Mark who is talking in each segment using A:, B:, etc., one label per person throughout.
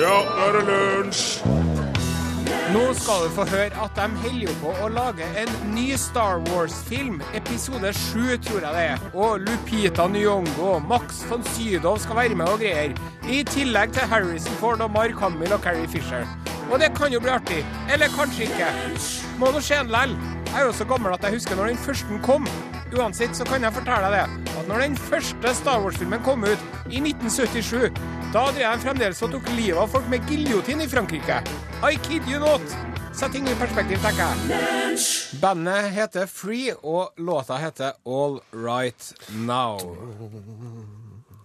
A: Ja, nå er det lunsj!
B: Nå skal du få høre at de holder jo på å lage en ny Star Wars-film. Episode 7, tror jeg det er. Og Lupita Nyong'o, Max von Sydow skal være med og greier. I tillegg til Harrison Ford og Mark Hamill og Carrie Fisher. Og det kan jo bli artig. Eller kanskje ikke. Må nå skje en lell. Jeg er jo så gammel at jeg husker når den første kom. Uansett så kan jeg fortelle deg det, at når den første Star Wars-filmen kom ut, i 1977, da drev de fremdeles og tok livet av folk med giljotin i Frankrike. I kid you not! Sett ting i perspektiv, tenker jeg. Bandet heter Free, og låta heter All Right Now.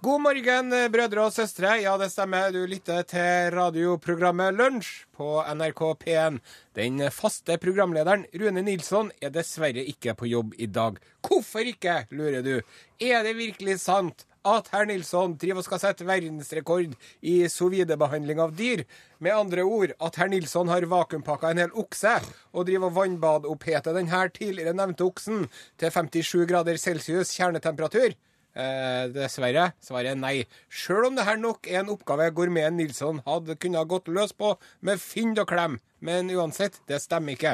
B: God morgen, eh, brødre og søstre. Ja, det stemmer. Du lytter til radioprogrammet Lunsj på NRK P1. Den faste programlederen, Rune Nilsson, er dessverre ikke på jobb i dag. Hvorfor ikke, lurer du? Er det virkelig sant at herr Nilsson driver og skal sette verdensrekord i sovidebehandling av dyr? Med andre ord at herr Nilsson har vakuumpakka en hel okse og driver og vannbadoppheter den her tidligere nevnte oksen til 57 grader celsius kjernetemperatur? Eh, dessverre. Svaret er nei. Sjøl om det her nok er en oppgave gourmeten Nilsson hadde kunnet ha gått løs på med fynd og klem. Men uansett, det stemmer ikke.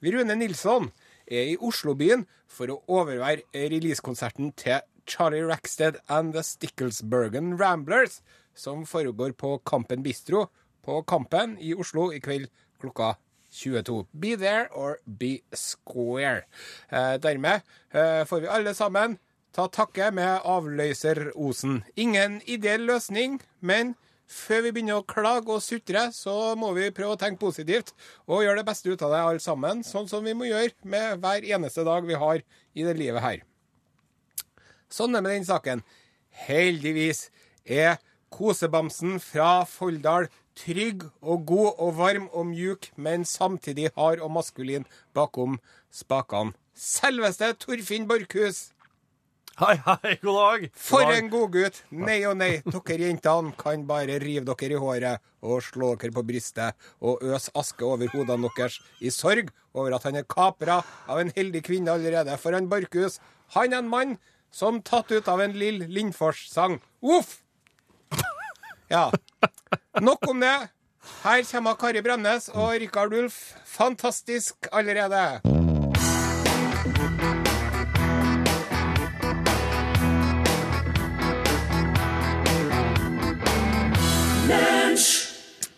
B: Rune Nilsson er i Oslobyen for å overvære releasekonserten til Charlie Rackstead and The Sticklesbergen Ramblers, som foregår på Kampen Bistro på Kampen i Oslo i kveld klokka 22. Be there or be square. Eh, dermed eh, får vi alle sammen ta takke med avløser-osen. Ingen ideell løsning, men før vi begynner å klage og sutre, så må vi prøve å tenke positivt og gjøre det beste ut av det, alle sammen. Sånn som vi må gjøre med hver eneste dag vi har i det livet her. Sånn er det med den saken. Heldigvis er kosebamsen fra Folldal trygg og god og varm og mjuk, men samtidig hard og maskulin bakom spakene. Selveste Torfinn Borchhus!
C: Hei, hei, god dag.
B: For en godgutt! Nei og nei, dere jentene kan bare rive dere i håret og slå dere på brystet og øse aske over hodene deres i sorg over at han er kapra av en heldig kvinne allerede. For han Borchhus, han er en mann som tatt ut av en Lill Lindfors-sang. Uff! Ja. Nok om det. Her kommer Kari Bremnes og Rikard Ulf. Fantastisk allerede.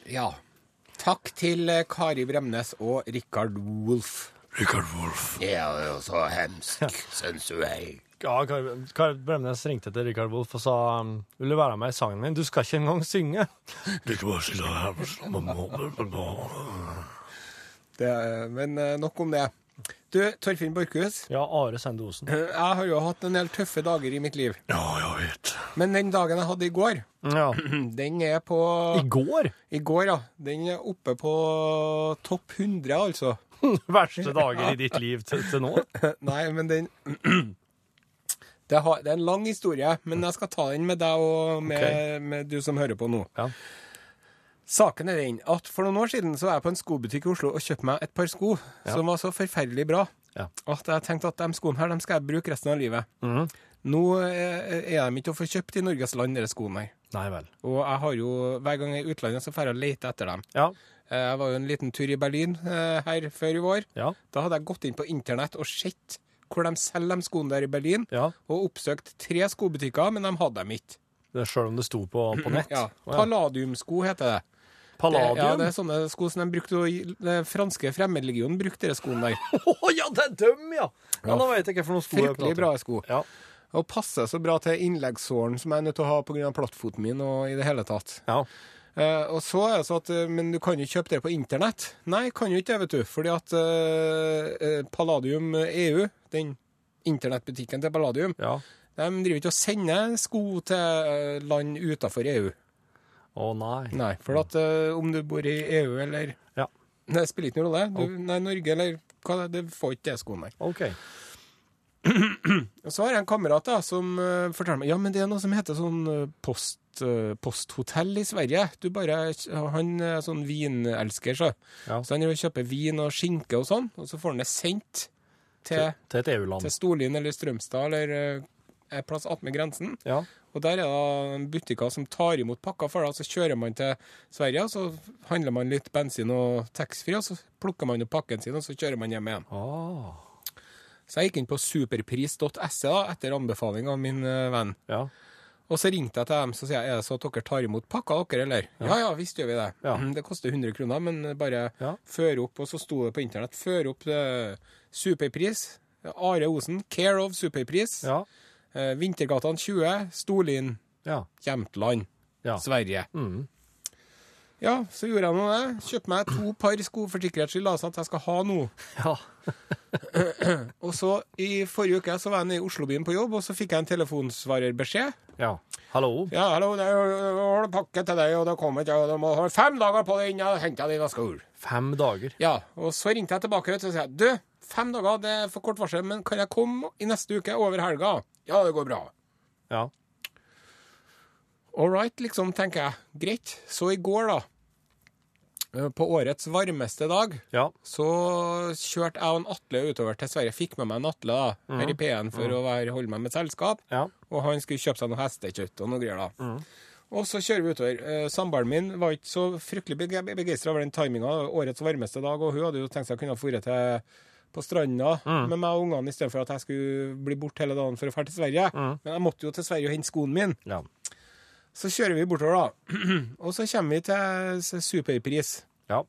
B: Ja. Takk til eh, Kari Bremnes og Rikard Wolff.
A: Richard Wolff.
B: Jeg er jo så hemsk, sensuell.
C: Ja, Kar Kar Bremnes ringte til Rikard Wolff og sa um, vil du være med i sangen min. Du skal ikke engang synge.
B: Det, eh, men eh, nok om det. Du, Torfinn Borchhus.
C: Ja, Are Sende Osen.
B: eh, Jeg har jo hatt en del tøffe dager i mitt liv.
A: Ja, jeg vet.
B: Men den dagen jeg hadde i går,
C: Ja.
B: den er på
C: I går?
B: I går, ja. Den er oppe på topp 100, altså.
C: Verste dager i ditt liv til, til nå?
B: Nei, men den det, har, det er en lang historie, men jeg skal ta den med deg og med,
C: Ok.
B: med du som hører på nå.
C: Ja.
B: Saken er den at for noen år siden så var jeg på en skobutikk i Oslo og kjøpte meg et par sko som var så forferdelig bra
C: Ja.
B: at jeg tenkte at de skoene her de skal jeg bruke resten av livet.
C: Mhm.
B: Nå eh, er de ikke å få kjøpt i Norges land, de skoene her.
C: Nei vel.
B: Og jeg har jo, hver gang jeg er i utlandet, så drar jeg og leter etter dem.
C: Ja.
B: Eh, Jeg var jo en liten tur i Berlin eh, her før i vår.
C: Ja.
B: Da hadde jeg gått inn på internett og sett hvor de selger de skoene der i Berlin,
C: ja.
B: og oppsøkt tre skobutikker, men de hadde dem ikke.
C: Det er Sjøl om det sto på, på nett?
B: Ja,
C: Å, ja.
B: Palladiumsko heter det. Det,
C: Palladium?
B: ja, det er sånne sko som de brukte, å- den franske fremmedlegionen brukte de skoene der.
C: Å ja, det er dem, ja! ja! Nå vet jeg ikke for noen sko jeg
B: Fryktelig
C: prater
B: bra
C: om.
B: sko.
C: Ja.
B: Og passer så bra til innleggssåren som jeg er nødt til å ha pga. plattfoten min og i det hele tatt.
C: ja.
B: Eh, og så er det så at, eh, men du kan jo kjøpe det på internett. Nei, kan jo ikke det, vet du. Fordi at eh, eh, Palladium EU, den internettbutikken til Palladium,
C: ja.
B: de driver ikke og sender sko til eh, land utenfor EU.
C: Å nei.
B: Nei, for at eh, om du bor i EU eller
C: Ja.
B: Det spiller ikke noen rolle. Du, Nei, Norge eller hva det er, det får ikke det skoen, nei.
C: OK.
B: Og så har jeg en kamerat da, som eh, forteller meg ja, men det er noe som heter sånn eh, post, eh, posthotell i Sverige. Du bare, Han er sånn vinelsker, så.
C: Ja.
B: Så han driver og kjøper vin og skinke og sånn, og så får han det sendt til,
C: Til et EU-land.
B: til Storlien eller Strømstad eller eh, en plass attmed grensen.
C: Ja.
B: Og Og der er det butikker som tar imot pakker for deg, og så kjører man til Sverige, og så handler man litt bensin og taxfree, og så plukker man opp pakken sin, og så kjører man hjem igjen.
C: Ah,
B: Så jeg gikk inn på superpris.se E da, etter anbefaling av min eh, venn.
C: ja.
B: Og så ringte jeg til dem så sier jeg, er det så at dere tar imot pakka dere, eller? Ja, ja, visst gjør vi det.
C: Ja.
B: «Mm, Det koster 100 kroner, men bare
C: Ja.
B: før opp, og så sto det på internett, før opp eh, superpris, Are Osen, Care of Superpris,
C: Ja.
B: eh, Vintergatan 20, Storlien,
C: Ja.
B: Jämtland,
C: Ja.
B: Sverige.
C: Mm.
B: Ja, så gjorde jeg nå det. Kjøpte meg to par sko for sikkerhets skyld, altså at jeg skal ha noe.
C: ja.
B: Og så i forrige uke så var jeg nede i Oslobyen på jobb, og så fikk jeg en telefonsvarerbeskjed.
C: ja. Hallo?
B: Ja, hallo, det er- jeg har en pakke til deg, og det kommer ikke, og du må ha fem dager på deg innen jeg henter dine sko.
C: Fem dager.
B: Ja, og så ringte jeg tilbake, vet du, og sa, du, fem dager, det er for kort varsel, men kan jeg komme i neste uke over helga? Ja, det går bra.
C: Ja.
B: All right, liksom, tenker jeg. Greit. Så i går da, eh, på årets varmeste dag,
C: Ja.
B: så kjørte jeg og en Atle utover til Sverige. Fikk med meg en Atle da, her i P1 for å være, holde meg med selskap.
C: Ja.
B: Og han skulle kjøpe seg noe hestekjøtt og noe greier da. Og så kjører vi utover. Eh, Samboeren min var ikke så fryktelig begeistra over den timinga. Årets varmeste dag, og hun hadde jo tenkt seg å kunne dra til på stranda med meg og ungene istedenfor at jeg skulle bli borte hele dagen for å dra til Sverige. Men jeg måtte jo til Sverige og hente skoen min.
C: Ja.
B: Så kjører vi bortover, da. og så kommer vi til s- Superpris.
C: Ja.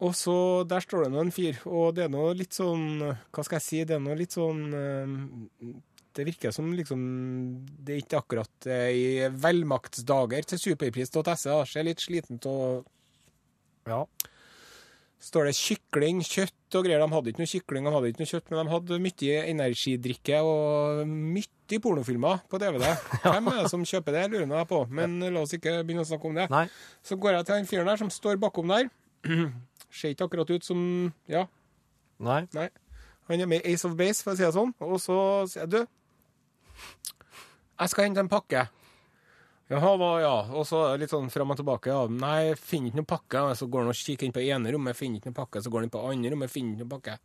B: Og så der står det nå en fyr, og det er nå litt sånn Hva skal jeg si? Det er nå litt sånn eh, Det virker som liksom Det er ikke akkurat eh, i velmaktsdager til superpris.se. E, da. Ser litt slitent og
C: Ja.
B: Står det kykling, kjøtt og greier. De hadde ikke noe kykling, de hadde ikke noe kjøtt, men de hadde mye energidrikke og mye pornofilmer på DVD. Hvem er det som kjøper det, lurer nå jeg på. Men la oss ikke begynne å snakke om det.
C: Nei.
B: Så går jeg til den fyren der som står bakom der. Ser ikke akkurat ut som Ja,
C: Nei.
B: Nei. Han er med i Ace of Base, for å si det sånn. Og så sier jeg, du, jeg skal hente en pakke. Jaha, hva, ja. Og så er det litt sånn fram og tilbake. Ja. Nei, jeg finner ikke noen pakke. Så går han og kikker inn på ene rommet, finner ikke noen pakke. Så går han inn på andre rommet, finner ikke noen pakke.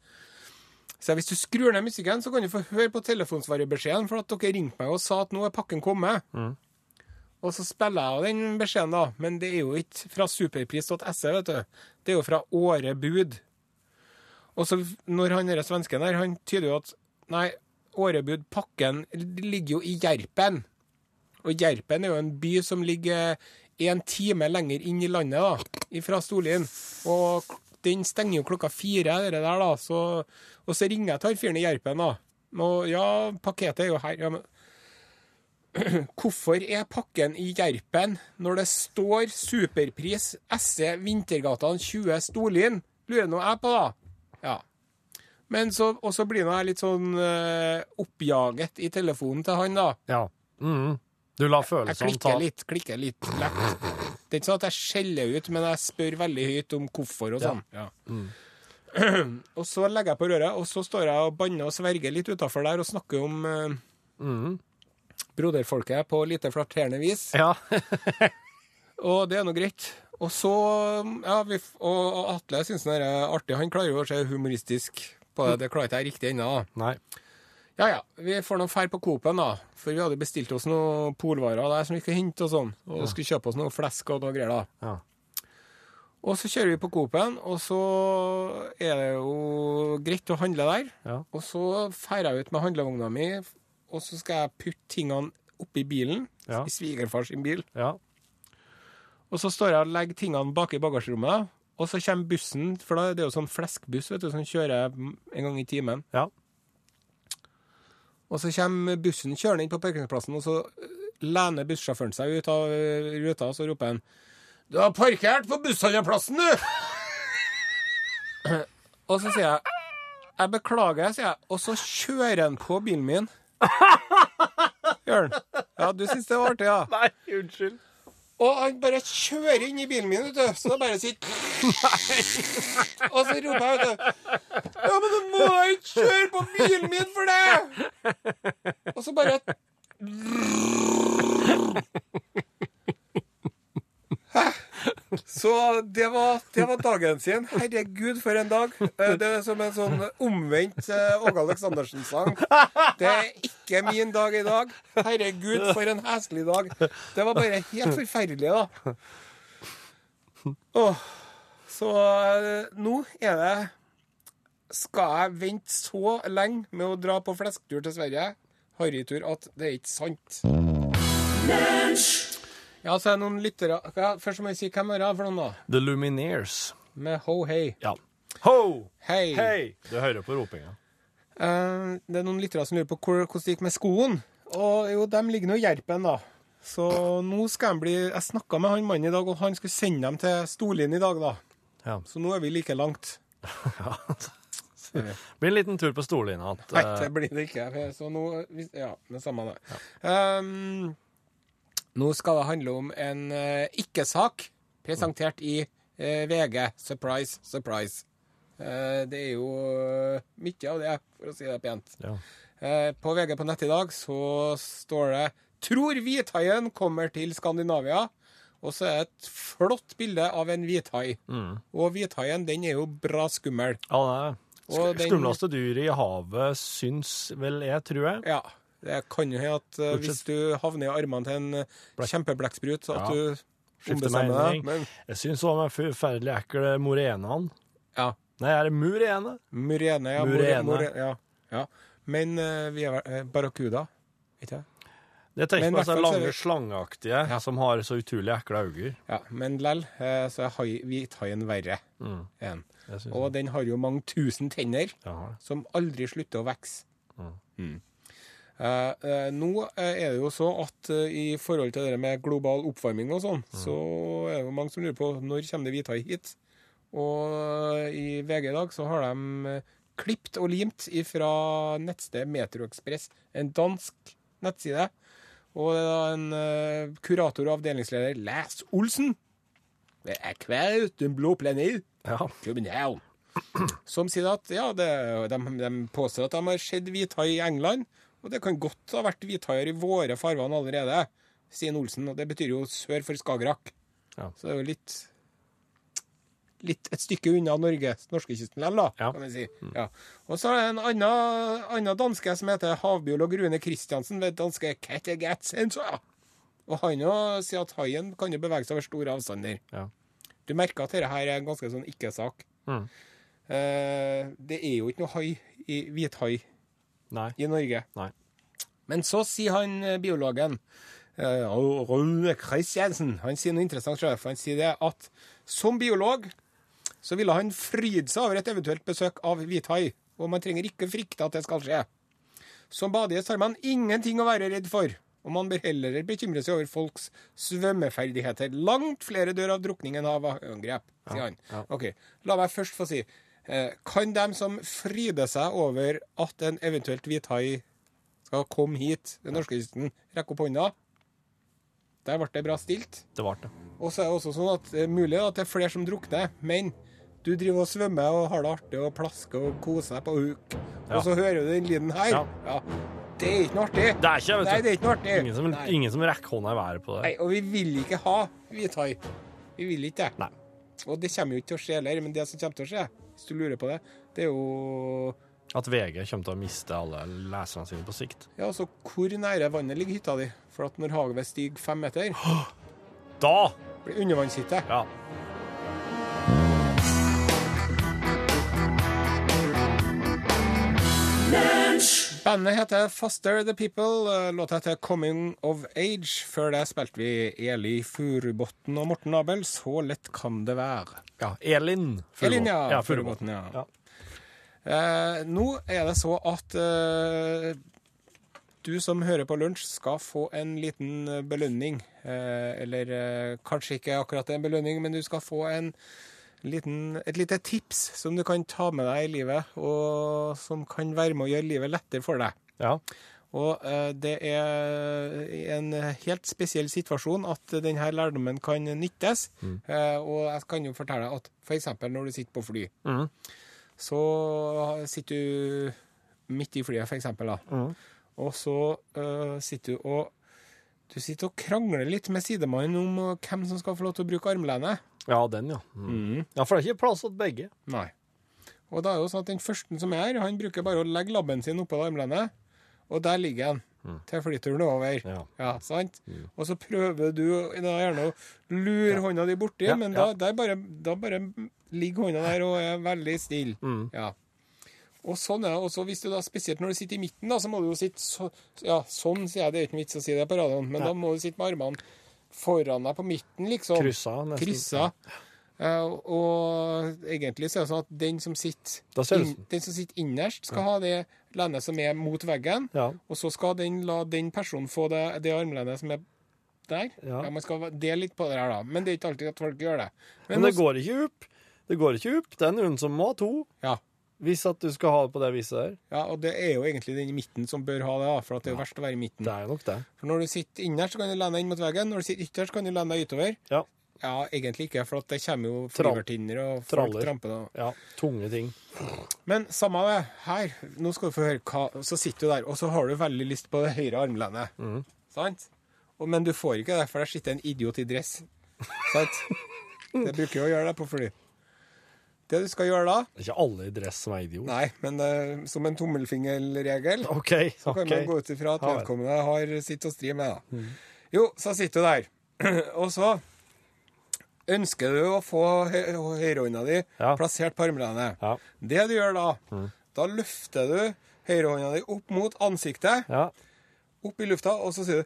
B: Så jeg, hvis du skrur ned musikken, så kan du få høre på telefonsvarebeskjeden, for at dere ringte meg og sa at nå er pakken kommet. Og så spiller jeg jo den beskjeden, da. Men det er jo ikke fra superpris.se, E, vet du. Det er jo fra Åre Bud. Og så når han der svensken her, han tyder jo at Nei, Årebud, pakken ligger jo i Gjerpen. Og Gjerpen er jo en by som ligger en time lenger inn i landet, da, ifra Storlien. Og k- den stenger jo klokka fire, det der, da. Så, og så ringer jeg til han fyren i Gjerpen, da. Og ja, pakketet er jo her. Ja, men Hvorfor er pakken i Gjerpen når det står superpris SE Vintergatan 20 Storlien? Lurer nå jeg på, da. Ja. Men så, og så blir nå jeg litt sånn eh, oppjaget i telefonen til han, da.
C: Ja. Mm. Du la
B: Jeg
C: følelsene ta
B: klikker litt, klikker litt lett. Det er ikke sånn at jeg skjeller ut, men jeg spør veldig høyt om hvorfor og sånn. Ja. og så legger jeg på røret, og så står jeg og banner og sverger litt utafor der og snakker om eh, broderfolket på lite flatterende vis.
C: Ja.
B: Og det er nå greit. Og så ja, vi, f- og, og Atle syns det er artig. Han klarer jo å se humoristisk på det. Det klarer ikke jeg riktig ennå. da.
C: Nei.
B: Ja ja, vi får nå fær på Coop-en, da. For vi hadde bestilt oss noen polvarer der som vi skulle hente og sånn. Og skulle kjøpe oss noe flesk og noe greier, da.
C: Ja.
B: Og så kjører vi på Coop-en, og så er det jo greit å handle der.
C: Ja.
B: Og så drar jeg ut med handlevogna mi, og så skal jeg putte tingene oppi bilen.
C: Ja.
B: I svigerfars sin bil.
C: Ja.
B: Og så står jeg og legger tingene bak i bagasjerommet, og så kommer bussen, for da er det jo sånn fleskbuss vet du, som kjører en gang i timen.
C: Ja.
B: Og så kommer bussen kjørende inn på parkeringsplassen, og så eh, lener bussjåføren seg ut av eh, ruta, og så roper han Du har parkert på bussholdeplassen, du! og så sier jeg Jeg beklager, sier jeg. Og så kjører han på bilen min. Gjør han. Ja, du syns det var artig, ja?
C: Nei, unnskyld.
B: Og han bare kjører inn i bilen min, vet du. Så det bare sitter Og så roper jeg, vet du. Ja, men du må da ikke kjøre på bilen min for det! Og så bare Hæ? Så det var, det var dagen sin. Herregud, for en dag. Eh, Det er som en sånn omvendt eh, Åge Aleksandersen-sang. Det er ikke ikke min dag i dag. Herregud, for en heslig dag. Det var bare helt forferdelig, da. Åh, så eh, nå er det Skal jeg vente så lenge med å dra på flesktur til Sverige? Harrytur at det er ikke sant. Ja, så er det noen lyttere Ja, Først må jeg si hvem er det for noen, da?
C: The Lumineers.
B: Med Ho Hei.
C: Ja. Ho!
B: Hei.
C: Hei! Du hører på ropinga.
B: Eh, det er noen lyttere som lurer på hvor, hvordan det gikk med skoen. Og jo, dem ligger nå i Gjerpen, da. Så nå skal de bli Jeg snakka med han mannen i dag, og han skulle sende dem til Storlien i dag, da.
C: Ja.
B: Så nå er vi like langt.
C: Blir en liten tur på Storlien.
B: Nei, det blir det ikke. Så nå hvis- Ja, det samme det. Ehm, nå skal det handle om en eh, ikke-sak presentert i eh, VG. Surprise, surprise. Eh, det er jo eh, mye av det, for å si det pent.
C: Ja.
B: Eh, på VG på nett i dag så står det 'Tror hvithaien kommer til Skandinavia'. Og så er det et flott bilde av en hvithai. Og hvithaien, den er jo bra skummel.
C: Ja, det er
B: Og
C: Eh, sk-
B: den-
C: Skumleste dyr i havet syns vel jeg, tror jeg.
B: Ja. Det kan jo hende at eh, hvis du havner i armene til en eh, kjempeblekkprut, så at
C: Ja.
B: du
C: Skifter
B: ombestemmer deg.
C: mening.
B: Men
C: Jeg syns òg den forferdelig ekle morenaen.
B: ja,
C: Nei, er det murene?
B: murene, ja.
C: Murene.
B: Murene. ja, ja. Men eh, vi er vel eh, Barracuda, ikke det?
C: Jeg tenker
B: Men i
C: på
B: hvert
C: disse
B: fall så er
C: lange,
B: det-
C: slangeaktige som har så utrolig ekle øyne.
B: Ja, men lell, eh, så er hai- hvithaien verre.
C: Mm.
B: enn.
C: Jeg synes-
B: Og den har jo mange tusen tenner
C: Ja.
B: som aldri slutter å vokse. Eh, eh, nå eh, er det jo så at eh, i forhold til det med global oppvarming og sånn, så er det jo mange som lurer på når kommer det hvithai hit? Og eh, i VG i dag så har de eh, klippt og limt ifra nettstedet Meteoekspress, en dansk nettside. Og det er da en eh, kurator og avdelingsleder, Lars Olsen. Det er kvaut, den blå planet.
C: Ja.
B: København. Som sier at ja, det, de, de påstår at de har sett hvithai i England, og det kan godt ha vært hvithaier i våre farvann allerede, sier Olsen. Og det betyr jo sør for Skagerrak.
C: Ja.
B: Så det er jo litt, litt et stykke unna Norge, norskekysten likevel, da,
C: Ja. Mm.
B: kan vi si. Ja. Og så er det en annen, annen danske som heter havbiolog Rune Christiansen ved danske Kattegat Sensor. Og han jo sier at haien kan jo bevege seg over store avstander.
C: Ja.
B: Du merker at dette her er en ganske sånn ikke-sak.
C: Mm.
B: Eh, det er jo ikke noe hai, i, hvithai
C: Nei.
B: i Norge.
C: Nei.
B: Men så sier han eh, biologen eh, Rune Christiansen, han sier noe interessant, tror jeg, for han sier det at som biolog så ville han fryde seg over et eventuelt besøk av hvithai, og man trenger ikke frykte at det skal skje. Som badegjest har man ingenting å være redd for, og man bør heller bekymre seg over folks svømmeferdigheter. Langt flere dør av drukning enn av angrep, sier han. Ok, La meg først få si, eh, kan dem som fryder seg over at en eventuelt hvithai skal komme hit ved norskekysten, rekke opp hånda? Der ble det bra stilt.
C: Det ble det.
B: Og så er det også sånn at det er mulig at det er flere som drukner, men du driver og svømmer og har det artig og plasker og koser deg på huk,
C: Ja.
B: og så hører du den lyden her.
C: Ja.
B: Ja. Det er ikke noe artig.
C: Det er ikke, vet du.
B: Nei, det er ikke noe artig.
C: Ingen som,
B: Nei.
C: ingen som rekker hånda i været på
B: Nei,
C: det.
B: og vi vil ikke ha hvithai. Vi vil ikke det.
C: Nei.
B: Og det kommer jo ikke til å skje heller, men det som kommer til å skje, hvis du lurer på det, det er jo
C: At VG kommer til å miste alle leserne sine på sikt.
B: Ja, altså, hvor nære vannet ligger hytta di? For at når havet stiger fem meter,
C: Da!
B: blir det undervannshytte.
C: Ja.
B: Bandet heter Foster The People. eh, Låta heter Coming of Age. Før det spilte vi Eli Furubotn og Morten Abel. Så lett kan det være.
C: ja. Elin
B: Elin, ja.
C: Furubotn.
B: Furubotn, ja.
C: Ja.
B: Eh, nå er det så at eh, du som hører på lunsj, skal få en liten eh, belønning. Eh, eller eh, kanskje ikke akkurat en belønning, men du skal få en liten, et lite tips som du kan ta med deg i livet, og som kan være med å gjøre livet lettere for deg.
C: Ja.
B: Og eh, det er i en helt spesiell situasjon at denne lærdommen kan nyttes. Eh, og jeg kan jo fortelle at f.eks. når du sitter på fly,
C: Mhm.
B: så sitter du midt i flyet, f.eks., da.
C: Mhm.
B: Og så eh, sitter du og du sitter og krangler litt med sidemannen om eh, hvem som skal få lov til å bruke armlene.
C: ja, den, ja. Mm. Ja, For det er ikke plass til begge.
B: Nei. Og da er det jo sånn at den første som er her, han bruker bare å legge labben sin oppå det armlenet, Og der ligger den. Til flyturen er over.
C: Mm. Ja. Mm.
B: Ja, sant? Og så prøver du da gjerne å lure hånda di borti,
C: Ja,
B: men da,
C: ja.
B: der bare, da bare ligger hånda der og er veldig stille.
C: Mm.
B: Ja. Og sånn er det. Og så hvis du da, spesielt når du sitter i midten, da, så må du jo sitte så, Ja, sånn sier jeg, det er ikke vits å si det på radioen, men da må du sitte med armene foran deg på midten, liksom.
C: Kryssa, nesten.
B: Kryssa. Eh, og egentlig så er det sånn at den som
C: Da ser sånn.
B: sitter,
C: det
B: inn-
C: ut som-
B: den som sitter innerst, skal ha det lenet som er mot veggen.
C: Ja.
B: Og så skal den la den personen få det, det armlenet som er der. Ja.
C: Ja.
B: Man skal dele litt på det her, da. Men det er ikke alltid at folk gjør det.
C: Men det går ikke opp. Det går ikke opp. Det er noen som må ha to,
B: Ja.
C: hvis at du skal ha det på det viset der.
B: ja, og det er jo egentlig den i midten som bør ha det, da, for at Mm. det er jo verst å være i midten.
C: Det er jo nok det.
B: For når du sitter innerst, så kan du lene deg inn mot veggen. Når du sitter ytterst, kan du lene deg utover.
C: Ja.
B: Ja, egentlig ikke, for at det kommer jo
C: Tral-
B: flyvertinner og folk
C: traller.
B: tramper. da.
C: Ja, tunge ting.
B: Men samme av det. Her, nå skal du få høre hva Så sitter du der, og så har du veldig lyst på det høyre armlenet.
C: Mm.
B: Sant? Og, men du får ikke det, for der sitter en idiot i dress. Sant? Det bruker jo å gjøre det på fly. Det du skal gjøre da
C: Det er ikke alle i dress som er idiot.
B: Nei, men eh, som en tommelfingerregel
C: OK.
B: så kan man gå
C: ok. Mm.
B: ut ifra at
C: Ja vel.
B: vedkommende har sitt å stri med. Da. Jo, så sitter du der. og så ønsker du å få hø hø- høyrehånda di
C: Ja.
B: plassert på armlenet.
C: Ja.
B: Det du gjør da,
C: Mm.
B: da løfter du høyrehånda di opp mot ansiktet,
C: Ja.
B: opp i lufta, og så sier du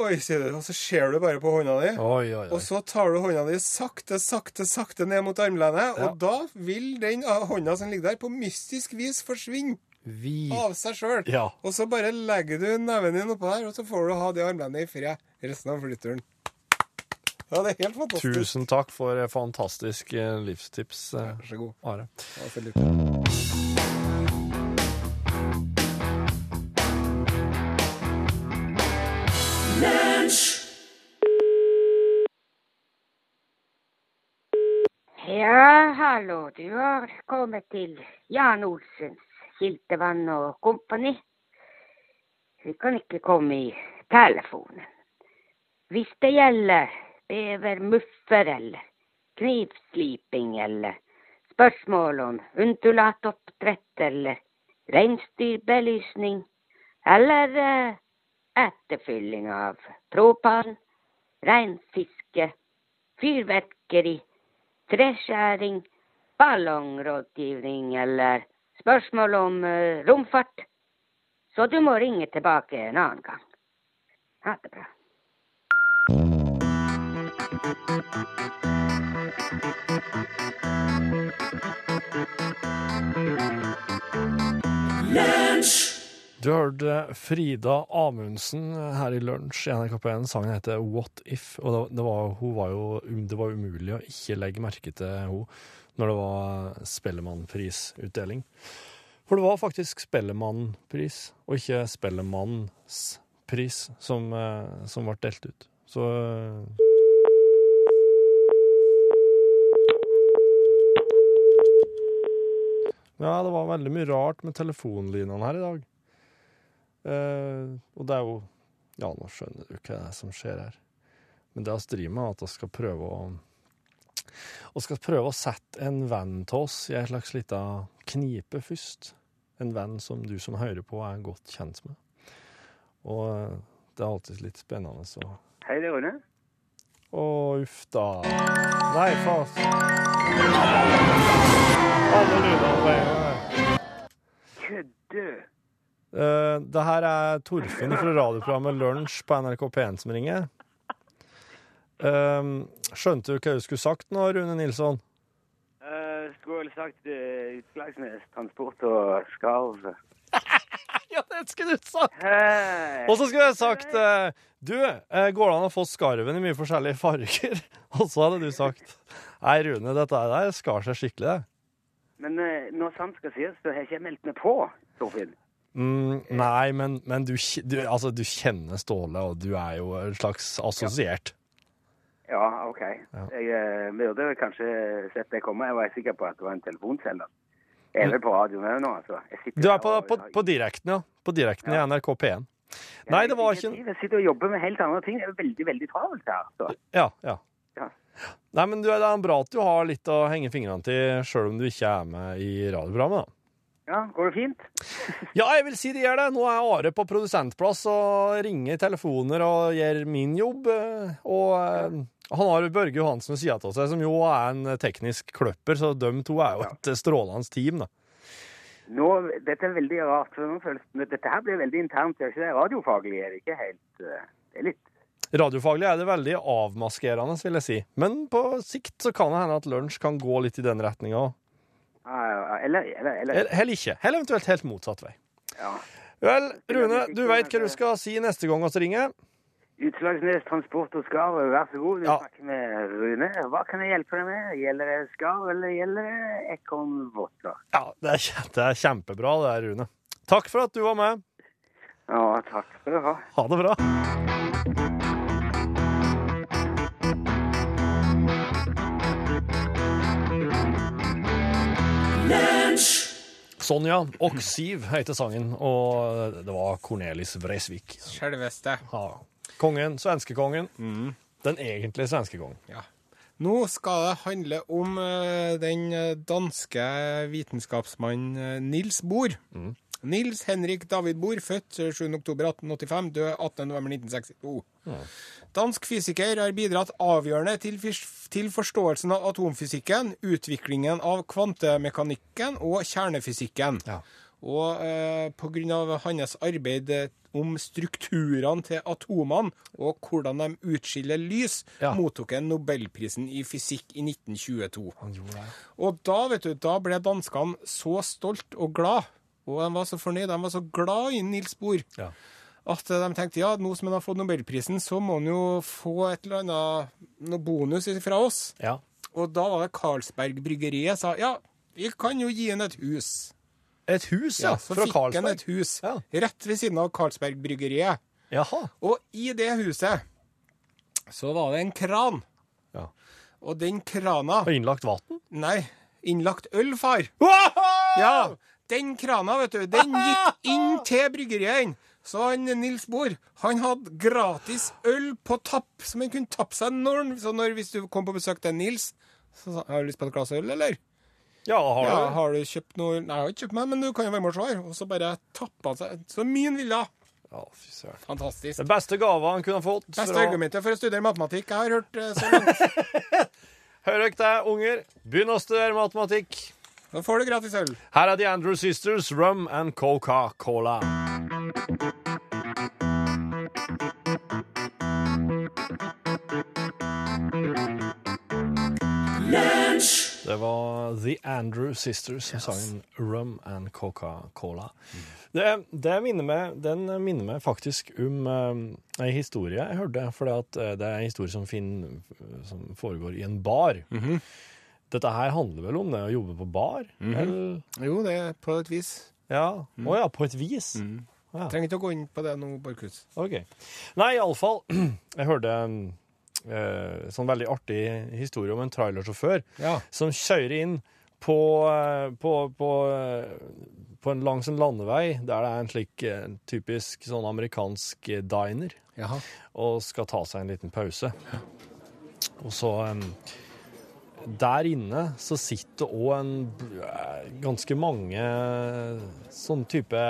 B: Oi, sier du, og så ser du bare på hånda di.
C: Oi, oi,
B: Og
C: oi.
B: så tar du hånda di sakte, sakte, sakte ned mot armlenet, og da vil den ah, hånda som ligger der, på mystisk vis forsvinne
C: Vi
B: av seg sjøl.
C: Ja.
B: Og så bare legger du neven din oppå der, og så får du ha det armlenet i fred resten av flyturen. Ja, det er helt fantastisk.
C: Tusen takk for eh, fantastisk eh, livstips, eh,
B: Vær så god.
C: Are.
B: Ja, Philip.
D: Ja, hallo. Du har kommet til Jan Olsens Kildevann og Kompani. Vi kan ikke komme i telefonen. Hvis det gjelder bevermuffer eller knivsliping eller spørsmål om undulatoppdrett eller reinsdyrbelysning eller eh, etterfylling av propan, reinfiske, fyrverkeri treskjæring, ballongrådgivning eller spørsmål om eh, romfart. Så du må ringe tilbake en annen gang. Ha det bra.
C: Du hørte Frida Amundsen her i Lunsj i NRK P1. Sangen heter What If. Og det, det, var, hun var jo, um- det var umulig å ikke legge merke til henne når det var Spellemannprisutdeling. For det var faktisk Spellemannpris, og ikke Spellemannspris, som, eh, som ble delt ut. Så eh, Ja, det var veldig mye rart med telefonlinjene her i dag. Eh, og det er jo Ja, nå skjønner du hva det er som skjer her. Men det vi driver med, er altså at vi skal prøve å Vi skal prøve å sette en venn til oss i ei slags lita knipe først. En venn som du som hører på, er godt kjent med. Og eh, det er alltid litt spennende så
E: Hei, det er Rune.
C: Å, uff da. Nei, faen. Alle lydene på en gang.
E: Kødde!
C: Eh, det her er Torfinn fra radioprogrammet Lunsj på NRK P1 som ringer. Eh, skjønte du hva du skulle sagt nå, Rune Nilsson?
E: Uh, skulle vel sagt eh, Utslagsnes Transport og Skarv.
C: Ja, det skulle du sagt!
E: Hei!
C: Og så skulle jeg sagt eh, Du, eh, går det an å få skarven i mye forskjellige farger? Og så hadde du sagt Nei, Rune, dette der skar seg skikkelig, det.
E: Men eh, når sant skal sies, så har jeg ikke meldt meg på, Torfinn.
C: Mm, nei, men, men du, kj- du, altså, du kjenner Ståle, og du er jo en slags assosiert.
E: Ja, OK.
C: Ja.
E: Jeg eh, burde kanskje sett deg komme. Jeg var sikker på at det var en telefonsender. Jeg er vel på radioen òg nå, altså. Jeg sitter
C: Du er
E: her
C: på,
E: og-
C: på, på direkten, ja. På direkten i NRK P1.
E: Jeg
C: Nei,
E: har
C: det var ikke
E: ingen altså. tid. Jeg sitter og jobber med helt andre ting. Det er veldig, veldig travelt her. Så.
C: Ja, ja.
E: Ja.
C: Nei, men du, det er bra at du har litt å henge fingrene til, sjøl om du ikke er med i radioprogrammet. da.
E: Ja, går det fint?
C: Ja, jeg vil si det gjør det. Nå er Are på produsentplass og ringer telefoner og gjør min jobb. eh, Og eh, han har Børge Johansen ved sida av seg, som jo er en teknisk kløpper, så de to er jo et strålende team, da.
E: Nå, dette er veldig rart. for nå føles, nå- dette her blir veldig internt. Det er ikke det radiofaglig, er det ikke helt eh, Det er litt
C: Radiofaglig er det veldig avmaskerende, vil jeg si. Men på sikt så kan det hende at lunsj kan gå litt i den retninga òg.
E: ah, Eller, eller, eller
C: Eller ikke. Eller eventuelt helt motsatt vei.
E: ja.
C: Vel, Rune, du veit hva du skal si neste gang vi ringer.
E: Utslagsnes Transport og Skarv, vær så god. Du
C: Ja.
E: snakker med Rune. Hva kan jeg hjelpe deg med? Gjelder det skarv, eller gjelder det ekornvotter?
C: Ja, det er, kje- det er kjempebra, det her, Rune. Takk for at du var med.
E: Ja, takk skal du ha.
C: Ha det bra. Sonja og Siv heter sangen, og det var Cornelis Vreeswijk.
B: Selveste.
C: Ja. Kongen, svenskekongen. Den egentlige svenskekongen.
B: Ja. Nå skal det handle om eh, den danske vitenskapsmannen eh, Nils Bohr. Nils Henrik David Bohr, født eh, 7.10.1885, død 18.11.1962. Dansk fysiker har bidratt avgjørende til, fys- til forståelsen av atomfysikken, utviklingen av kvantemekanikken og kjernefysikken.
C: Ja.
B: Og eh, pga. hans arbeid eh, om strukturene til atomene og hvordan de utskiller lys,
C: Ja.
B: mottok han Nobelprisen i fysikk i 1922.
C: Han gjorde det.
B: Og da, vet du, da ble danskene så stolt og glad, og de var så fornøyd, de var så glad i Nils Bohr,
C: Ja.
B: at eh, de tenkte ja, nå som han har fått Nobelprisen, så må han jo få et eller annet noe bonus fra oss.
C: Ja.
B: Og da var det Carlsberg Bryggeriet sa ja, vi kan jo gi han et hus.
C: Et hus, ja.
B: så
C: fra
B: fikk han et
C: Carlsberg.
B: hus
C: Ja.
B: rett ved siden av Carlsberg Bryggeriet.
C: Jaha.
B: Og i det huset så var det en kran.
C: Ja.
B: Og den krana
C: Og innlagt vann.
B: Nei, innlagt øl, far. Ja, den krana, vet du, den gikk inn til bryggeriet. Så han Nils Bohr, han hadde gratis øl på tapp, som han kunne tappe seg når han Så når, hvis du kom på besøk til Nils, så sa han Har du lyst på et glass øl, eller?
C: Ja, har
B: Ja,
C: du?
B: har du kjøpt noe Nei, jeg har ikke kjøpt meg, men du kan jo være med og svare. Og så bare tappa han seg. Så mye han ville.
C: Ja, fy søren.
B: Fantastisk.
C: Den beste gava han kunne ha fått.
B: Beste
C: fra-
B: argumentet for å studere matematikk jeg har hørt eh, så langt.
C: Hør dere deg, unger. Begynn å studere matematikk.
B: Da får du gratis øl.
C: Her er The Andrew Sisters, Rum and Coca-Cola. Det var The Andrew Sisters som sang Rum and Coca-Cola. Det, det, minner meg, den minner meg faktisk om eh, ei historie jeg hørte. For det er en historie som, finn, som foregår i en bar. Dette her handler vel om det å jobbe på bar? eller?
B: Jo, det er på et vis.
C: Ja. Å ja, på et vis.
B: Trenger ikke å gå inn på det nå, Borchhus.
C: Ok. Nei, iallfall. Jeg hørte en eh, sånn veldig artig historie om en trailersjåfør
B: Ja.
C: som kjører inn på, eh, på, på, eh, på en langs en landevei der det er en slik eh, typisk sånn amerikansk eh, diner,
B: Jaha.
C: og skal ta seg en liten pause. Og så eh, Der inne så sitter òg en eh, ganske mange sånn type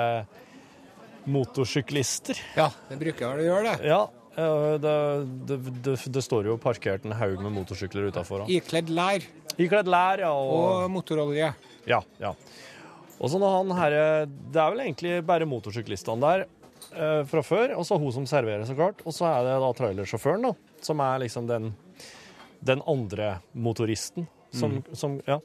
C: motorsyklister.
B: Ja, det bruker vel å gjøre det.
C: Ja, eh, det, det, det, det står jo parkert en haug med motorsykler utafor.
B: Ikledd lær
C: Ikledd lær, ja.
B: og
C: Og,
B: motorolje.
C: ja, ja. og så når han herre Det er vel egentlig bare motorsyklistene der eh, fra før, og så hun som serverer, så klart. Og så er det da trailersjåføren, da, som er liksom den, den andre motoristen som, som Ja.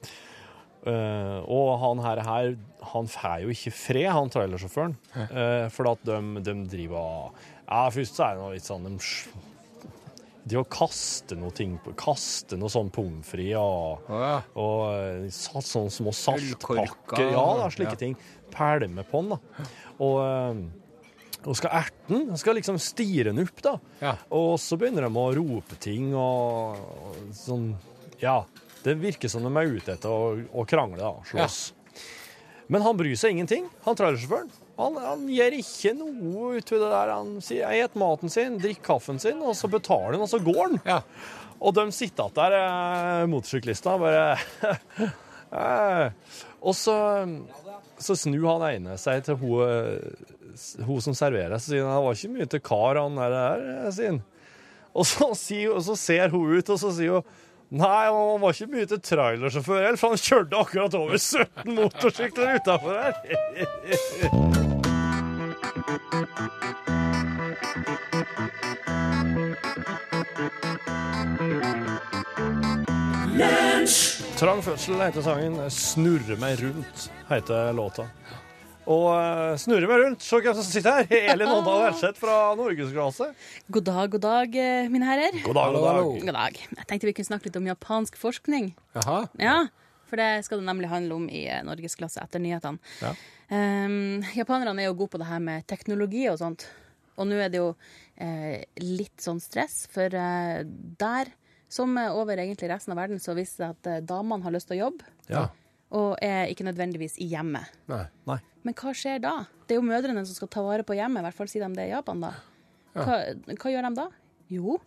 C: Eh, og han her, her han får jo ikke fred, han trailersjåføren. Eh, for at de, de driver og Ja, først så er det noe litt sånn De, sj- de å kaste noe ting på Kaste noe sånn pommes frites og
B: Å
C: og eh, sa- sånne små saltpakker.
B: Ølkorker.
C: Ja, da, slike
B: Ja.
C: ting. Pælme på den, da. Og, eh, og skal erte den. Skal liksom stire den opp, da.
B: Ja.
C: Og så begynner de å rope ting og, og sånn Ja. Det virker som de er ute etter å, å krangle, da. Slåss. Men han bryr seg ingenting. Han trailersjåføren. Han, han gir ikke noe ut ved det der. Han sier 'jeg et maten sin, drikk kaffen sin', og så betaler han, og så går han.
B: Ja.
C: Og de sitter att der, eh, motorsyklister, bare eh. Og så, så snur han ene seg til hun, eh, s- hun som serverer, så sier han 'det var ikke mye til kar, han der', der, eh», sier han. Og så, sier, og så ser hun ut, og så sier hun Nei, han var ikke mye til trailersjåfør heller, for han kjørte akkurat over 17 motorsykler utafor her. Trang fødsel heter sangen. 'Snurre meg rundt' heter låta. Og eh, 'Snurre meg rundt', se hvem som sitter her! Elin Åndal Herseth fra Norgesklasse.
F: God dag, god dag, eh, mine herrer.
C: God dag, god dag.
F: God dag. Jeg tenkte vi kunne snakke litt om japansk forskning.
B: Jaha.
F: Ja, for det skal det nemlig handle om i eh, Norgesklasse etter nyhetene.
C: Ja.
F: Ehm, japanerne er jo gode på det her med teknologi og sånt. Og nå er det jo eh, litt sånn stress, for eh, der, som eh, over egentlig resten av verden, så viser det seg at eh, damene har lyst til å jobbe,
C: Ja.
F: og er ikke nødvendigvis i hjemmet.
B: Nei.
C: Nei.
F: Men hva skjer da? Det er jo mødrene som skal ta vare på hjemmet, i hvert fall sier de det i Japan, da. Hva, hva gjør de da? Jo,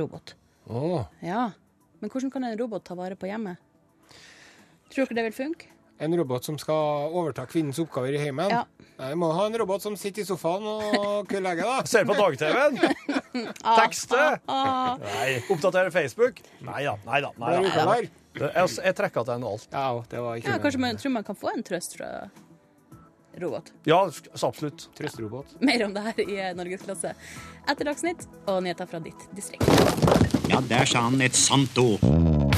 F: robot.
B: Åh.
F: Ja. Men hvordan kan en robot ta vare på hjemmet? Tror dere det vil funke?
B: En robot som skal overta kvinnens oppgaver i heimen?
F: Ja.
B: Nei, må ha en robot som sitter i sofaen og kulegger, da.
C: Ser du på dag-TV-en? Tekste?
F: Ah,
C: Nei. Oppdaterer Facebook? Nei da, nei da. Nei,
B: Blir du
C: da.
B: uklar?
C: Det- Jeg, jeg trekker til alt.
B: Ja, det var ikke
F: Ja, Kanskje man tror man kan få en trøst fra robot.
C: Ja, så absolutt.
B: trøsterobot.
F: Mer om det her i Norgesklasse etter Dagsnytt og nyheter fra ditt distrikt.
G: Ja, der sa han et sant ord.